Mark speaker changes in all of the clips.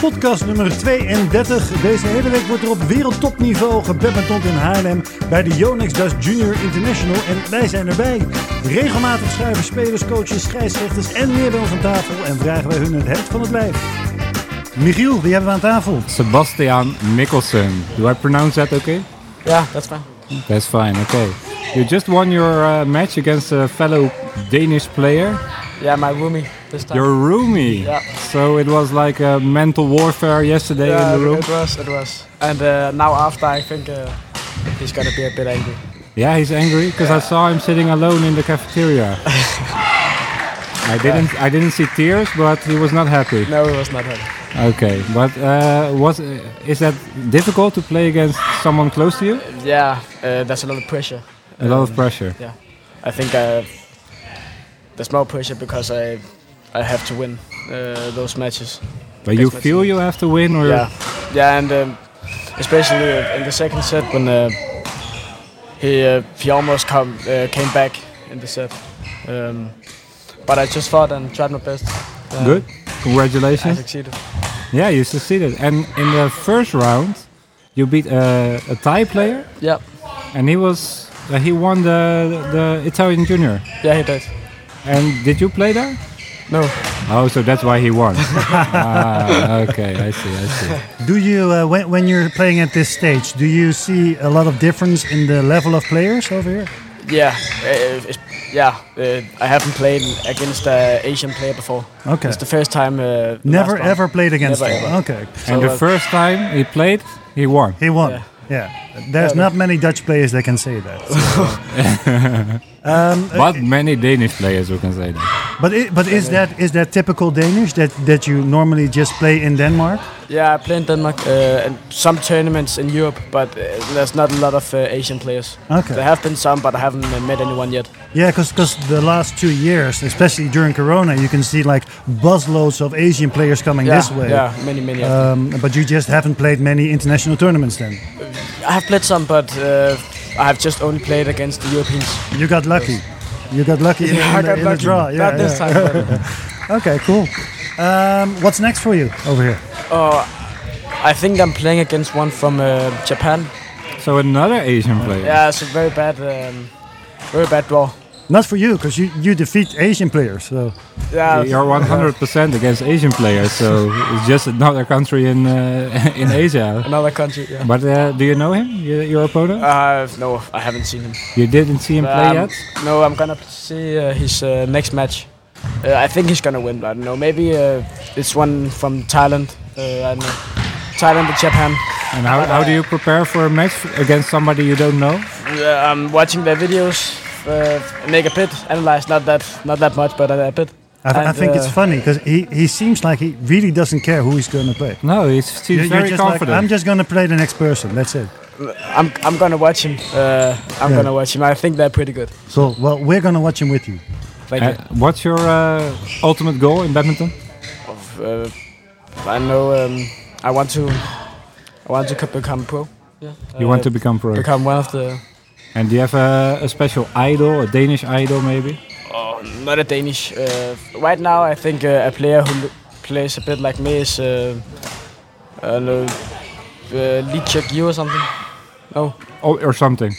Speaker 1: Podcast nummer 32. Deze hele week wordt er op wereldtopniveau gebadminton in Haarlem bij de Yonex Dust Junior International en wij zijn erbij. Regelmatig schuiven spelers, coaches, scheidsrechters en meer bij ons aan tafel en vragen wij hun het hemd van het lijf. Michiel, wie hebben we aan tafel?
Speaker 2: Sebastian Mikkelsen. Do I pronounce that okay?
Speaker 3: Yeah, that's fine.
Speaker 2: That's fine, okay. You just won your uh, match against a fellow Danish player,
Speaker 3: Yeah, my roomie this time.
Speaker 2: your roomie.
Speaker 3: Yeah.
Speaker 2: So it was like a mental warfare yesterday
Speaker 3: yeah,
Speaker 2: in the room.
Speaker 3: it was, it was. And uh, now after, I think uh, he's gonna be a bit angry.
Speaker 2: Yeah, he's angry because I saw him sitting alone in the cafeteria. I didn't I didn't see tears, but he was not happy.
Speaker 3: No, it was not him.
Speaker 2: Okay, but uh, was is that difficult to play against someone close to you?
Speaker 3: Yeah, uh, there's a lot of pressure.
Speaker 2: A lot of pressure.
Speaker 3: Yeah, I think uh, there's more pressure because I I have to win uh, those matches.
Speaker 2: But you
Speaker 3: that's what
Speaker 2: feel
Speaker 3: it
Speaker 2: you have to win, or
Speaker 3: Yeah, yeah, and um, especially uh, in the second set when uh, he uh, he almost come uh, came back in the set. Um, but I just fought and tried my best. Uh,
Speaker 2: good.
Speaker 3: I
Speaker 2: Congratulations.
Speaker 3: succeeded.
Speaker 2: Yeah, you succeeded. And in the first round, you beat uh, a Thai player,
Speaker 3: Yeah,
Speaker 2: and he was uh, he won the the Italian junior.
Speaker 3: yeah, he did.
Speaker 2: And did you play there?
Speaker 3: No,
Speaker 2: Oh, so that's why he won. ah, okay, I see, I see.
Speaker 1: Do you, uh, when, when you're playing at this stage, do you see a lot of difference in the level of players over here?
Speaker 3: yeah, uh, it's, yeah. Uh, I haven't played against an Asian player before.
Speaker 1: Okay.
Speaker 3: It's the first time. Uh, the
Speaker 1: Never
Speaker 3: last one.
Speaker 1: ever played against
Speaker 3: Never
Speaker 1: them.
Speaker 3: ever.
Speaker 1: Okay.
Speaker 2: and
Speaker 3: So,
Speaker 2: the
Speaker 3: uh,
Speaker 2: first time he played, he won.
Speaker 1: He won. Yeah.
Speaker 3: Yeah.
Speaker 1: There's
Speaker 3: Yeah,
Speaker 1: not many Dutch players that can say that.
Speaker 2: But many Danish players, we can say that.
Speaker 1: But i but is that is that typical Danish that that you normally just play in Denmark?
Speaker 3: Yeah, I play in Denmark uh, and some tournaments in Europe, but uh, there's not a lot of uh, Asian players.
Speaker 1: Okay.
Speaker 3: There have been some, but I haven't uh, met anyone yet.
Speaker 1: Yeah, because the last two years, especially during Corona, you can see like buzzloads of Asian players coming
Speaker 3: yeah,
Speaker 1: this way.
Speaker 3: Yeah, many, many. of them.
Speaker 1: Um, but you just haven't played many international tournaments then.
Speaker 3: I have played some, but uh, I have just only played against the Europeans.
Speaker 1: You got lucky. You got lucky in, in
Speaker 3: I
Speaker 1: the,
Speaker 3: got
Speaker 1: in the
Speaker 3: lucky.
Speaker 1: draw. Yeah,
Speaker 3: Not
Speaker 1: yeah.
Speaker 3: this time. but-
Speaker 1: Okay, cool. Um, what's next for you over here?
Speaker 3: Oh, I think I'm playing against one from uh, Japan.
Speaker 2: So another Asian player.
Speaker 3: Yeah, it's a very bad, um, very bad draw.
Speaker 1: Not for you, because you, you defeat Asian players. So
Speaker 3: Yeah,
Speaker 2: You're 100% against Asian players, so it's just another country in uh, in Asia.
Speaker 3: another country. Yeah.
Speaker 2: But uh, do you know him, your, your opponent?
Speaker 3: Uh, no, I haven't seen him.
Speaker 2: You didn't see him play
Speaker 3: Um,
Speaker 2: yet?
Speaker 3: No, I'm gonna see uh, his uh, next match. Uh, I think he's gonna win. but I don't know. Maybe uh, it's one from Thailand. Uh, I don't know. Thailand or Japan.
Speaker 2: And how, how do you prepare for a match against somebody you don't know?
Speaker 3: Uh, I'm watching their videos. Uh, make a bit, analyze. Not that, not that much, but uh, a bit.
Speaker 1: I, I
Speaker 3: And,
Speaker 1: think it's
Speaker 3: uh,
Speaker 1: funny because he, he seems like he really doesn't care who he's going to play.
Speaker 2: No, he's, he's
Speaker 1: You're- you're
Speaker 2: very
Speaker 1: just like,
Speaker 2: confident.
Speaker 1: I'm just going to play the next person. That's it.
Speaker 3: I'm, I'm gonna watch him. Uh, I'm
Speaker 1: Yeah.
Speaker 3: gonna watch him. I think they're pretty good.
Speaker 1: So, well, we're going to watch him with you.
Speaker 3: Thank
Speaker 2: Uh, what's your uh, ultimate goal in badminton?
Speaker 3: you. Of, uh, I know. Um, I want to. I want to co- become pro. Yeah.
Speaker 2: You want to become pro.
Speaker 3: become one of the
Speaker 2: and do you have a, a special idol, a Danish idol maybe?
Speaker 3: Oh, not a Danish. Uh, right now, I think uh, a player who lo- plays a bit like me is uh, uh, no, uh, Lee Chuk Yu or something. No,
Speaker 2: Or, or something?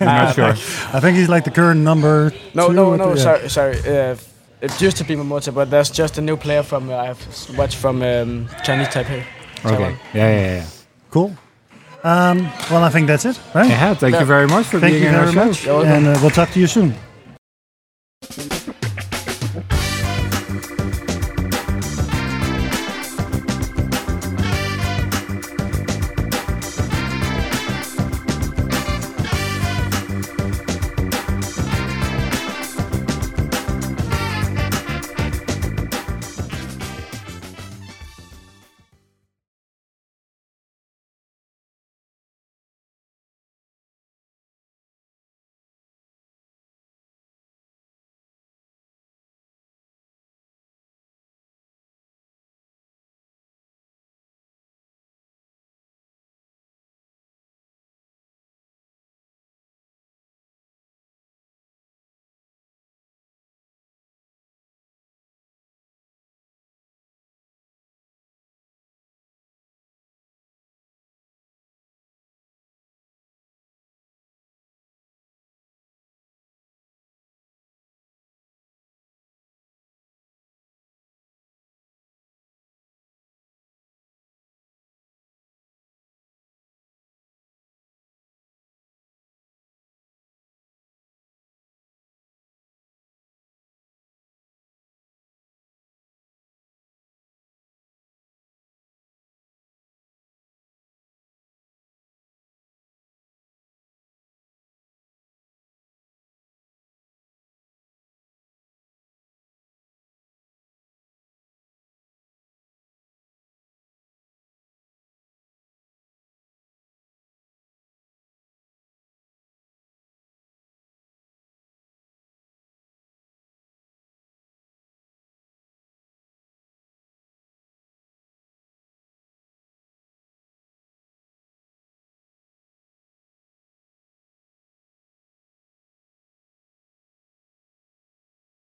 Speaker 2: I'm not sure.
Speaker 1: I think he's like the current number.
Speaker 3: no,
Speaker 1: two
Speaker 3: no,
Speaker 1: or
Speaker 3: no.
Speaker 1: three- yeah.
Speaker 3: Sorry, sorry. Uh, it used to be Momota, but there's just a new player from uh, I've s- watched from um, Chinese Taipei.
Speaker 2: Okay. Yeah, yeah, yeah.
Speaker 1: Cool. Um, well, I think that's it, right?
Speaker 2: Yeah, thank you very much for
Speaker 1: Thank
Speaker 2: being
Speaker 1: you
Speaker 2: in our
Speaker 1: very
Speaker 2: show.
Speaker 1: much.
Speaker 3: You're welcome.
Speaker 1: And uh, we'll talk to you soon.